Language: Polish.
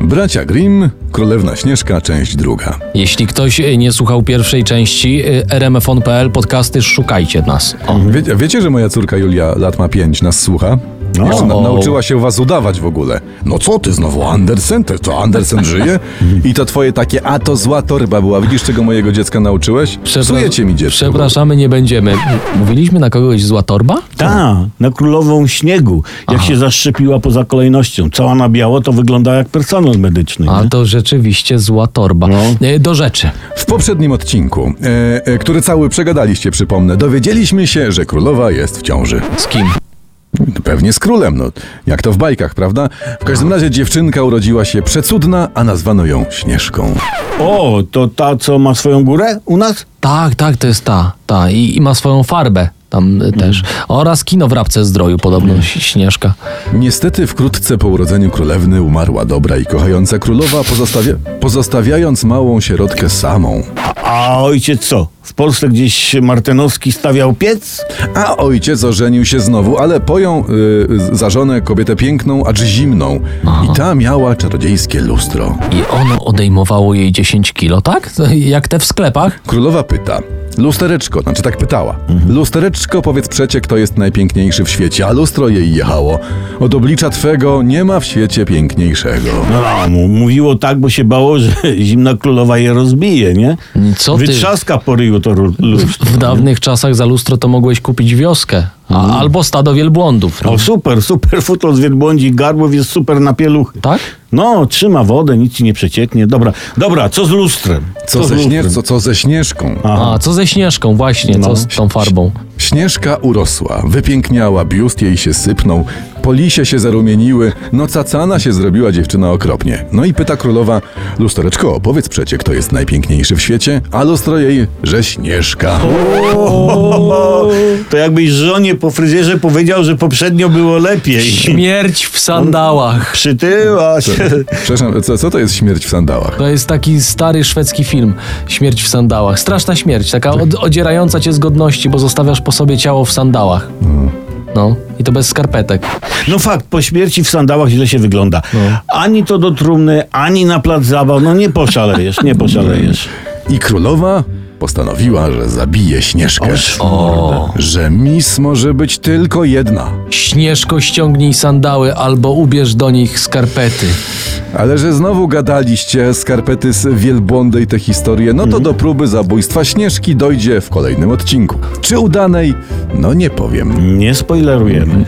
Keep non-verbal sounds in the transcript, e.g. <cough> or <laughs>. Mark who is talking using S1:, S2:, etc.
S1: Bracia Grimm, Królewna Śnieżka, część druga.
S2: Jeśli ktoś y, nie słuchał pierwszej części y, rmfon.pl podcasty, szukajcie nas. O.
S1: Wie, wiecie, że moja córka Julia, lat ma pięć, nas słucha? No. Już na, nauczyła się was udawać w ogóle. No co ty znowu, Andersen? Ty, to Andersen żyje? I to twoje takie, a to zła torba była. Widzisz, czego mojego dziecka nauczyłeś? Psujecie mi dziecko.
S2: Przepraszamy, nie będziemy. Mówiliśmy na kogoś zła torba?
S3: Ta, na królową śniegu, jak się zaszczepiła poza kolejnością. Cała na biało, to wygląda jak personel medyczny.
S2: A
S3: nie?
S2: to rzeczywiście zła torba.
S3: No.
S2: Y, Do rzeczy.
S1: W poprzednim odcinku, e, e, który cały przegadaliście, przypomnę, dowiedzieliśmy się, że królowa jest w ciąży.
S2: Z kim?
S1: Pewnie z królem, no. Jak to w bajkach, prawda? W każdym razie dziewczynka urodziła się przecudna, a nazwano ją Śnieżką.
S3: O, to ta, co ma swoją górę u nas?
S2: Tak, tak, to jest ta. ta. I, i ma swoją farbę tam
S3: Mhm.
S2: y, też. Oraz kino w Rabce Zdroju, podobno Ś- Śnieżka.
S1: Niestety wkrótce po urodzeniu królewny umarła dobra i kochająca królowa, pozostawia- pozostawiając małą sierotkę samą.
S3: A ojciec co? W Polsce gdzieś Martenowski stawiał piec?
S1: A ojciec ożenił się znowu, ale pojął y, za żonę kobietę piękną, acz zimną. I ta miała czarodziejskie lustro.
S2: I ono odejmowało jej 10 kilo, tak? Jak te w sklepach?
S1: Królowa pyta. Lustereczko, znaczy tak pytała. Lustereczko, powiedz przecie, kto jest najpiękniejszy w świecie, a lustro jej jechało. Od oblicza twego nie ma w świecie piękniejszego.
S3: No, a mu, mówiło tak, bo się bało, że <laughs> zimna królowa je rozbije, nie?
S2: Co ty?
S3: Wytrzaska po ryju to ru- lustro.
S2: W dawnych czasach za lustro to mogłeś kupić wioskę.
S3: Mhm.
S2: A, albo stado wielbłądów.
S3: O, super, super futol z wielbłądzi garbów jest super na pieluchy.
S2: Tak?
S3: No, trzyma wodę, nic ci nie przecieknie. Dobra, dobra, co z lustrem?
S1: Co,
S3: z
S1: ze,
S3: lustrem?
S1: śnie- co, co ze śnieżką?
S2: A, co ze śnieżką, właśnie, co
S3: No.
S2: z tą farbą?
S1: Śnieżka urosła, wypiękniała, biust jej się sypnął, polisie się zarumieniły, no cacana się zrobiła dziewczyna okropnie. No i pyta królowa, lustereczko, powiedz przecie, kto jest najpiękniejszy w świecie, a lustro jej, że Śnieżka.
S3: To jakbyś żonie po fryzjerze powiedział, że poprzednio było lepiej.
S2: Śmierć w sandałach.
S3: Przytyła się.
S1: Przepraszam, co, co to jest śmierć w sandałach?
S2: To jest taki stary szwedzki film Śmierć w sandałach. Straszna śmierć, taka od, odzierająca cię z godności, bo zostawiasz po sobie ciało w sandałach. No, i to bez skarpetek.
S3: No fakt, po śmierci w sandałach źle się wygląda. Ani to do trumny, ani na plac zabaw. No nie poszalejesz, nie poszalejesz.
S1: I królowa postanowiła, że zabije Śnieżkę.
S2: O.
S1: Że mis może być tylko jedna.
S2: Śnieżko, ściągnij sandały albo ubierz do nich skarpety.
S1: Ale że znowu gadaliście skarpety z wielbłądy i te historie, no to do próby zabójstwa Śnieżki dojdzie w kolejnym odcinku. Czy udanej? No nie powiem.
S3: Nie spoilerujemy.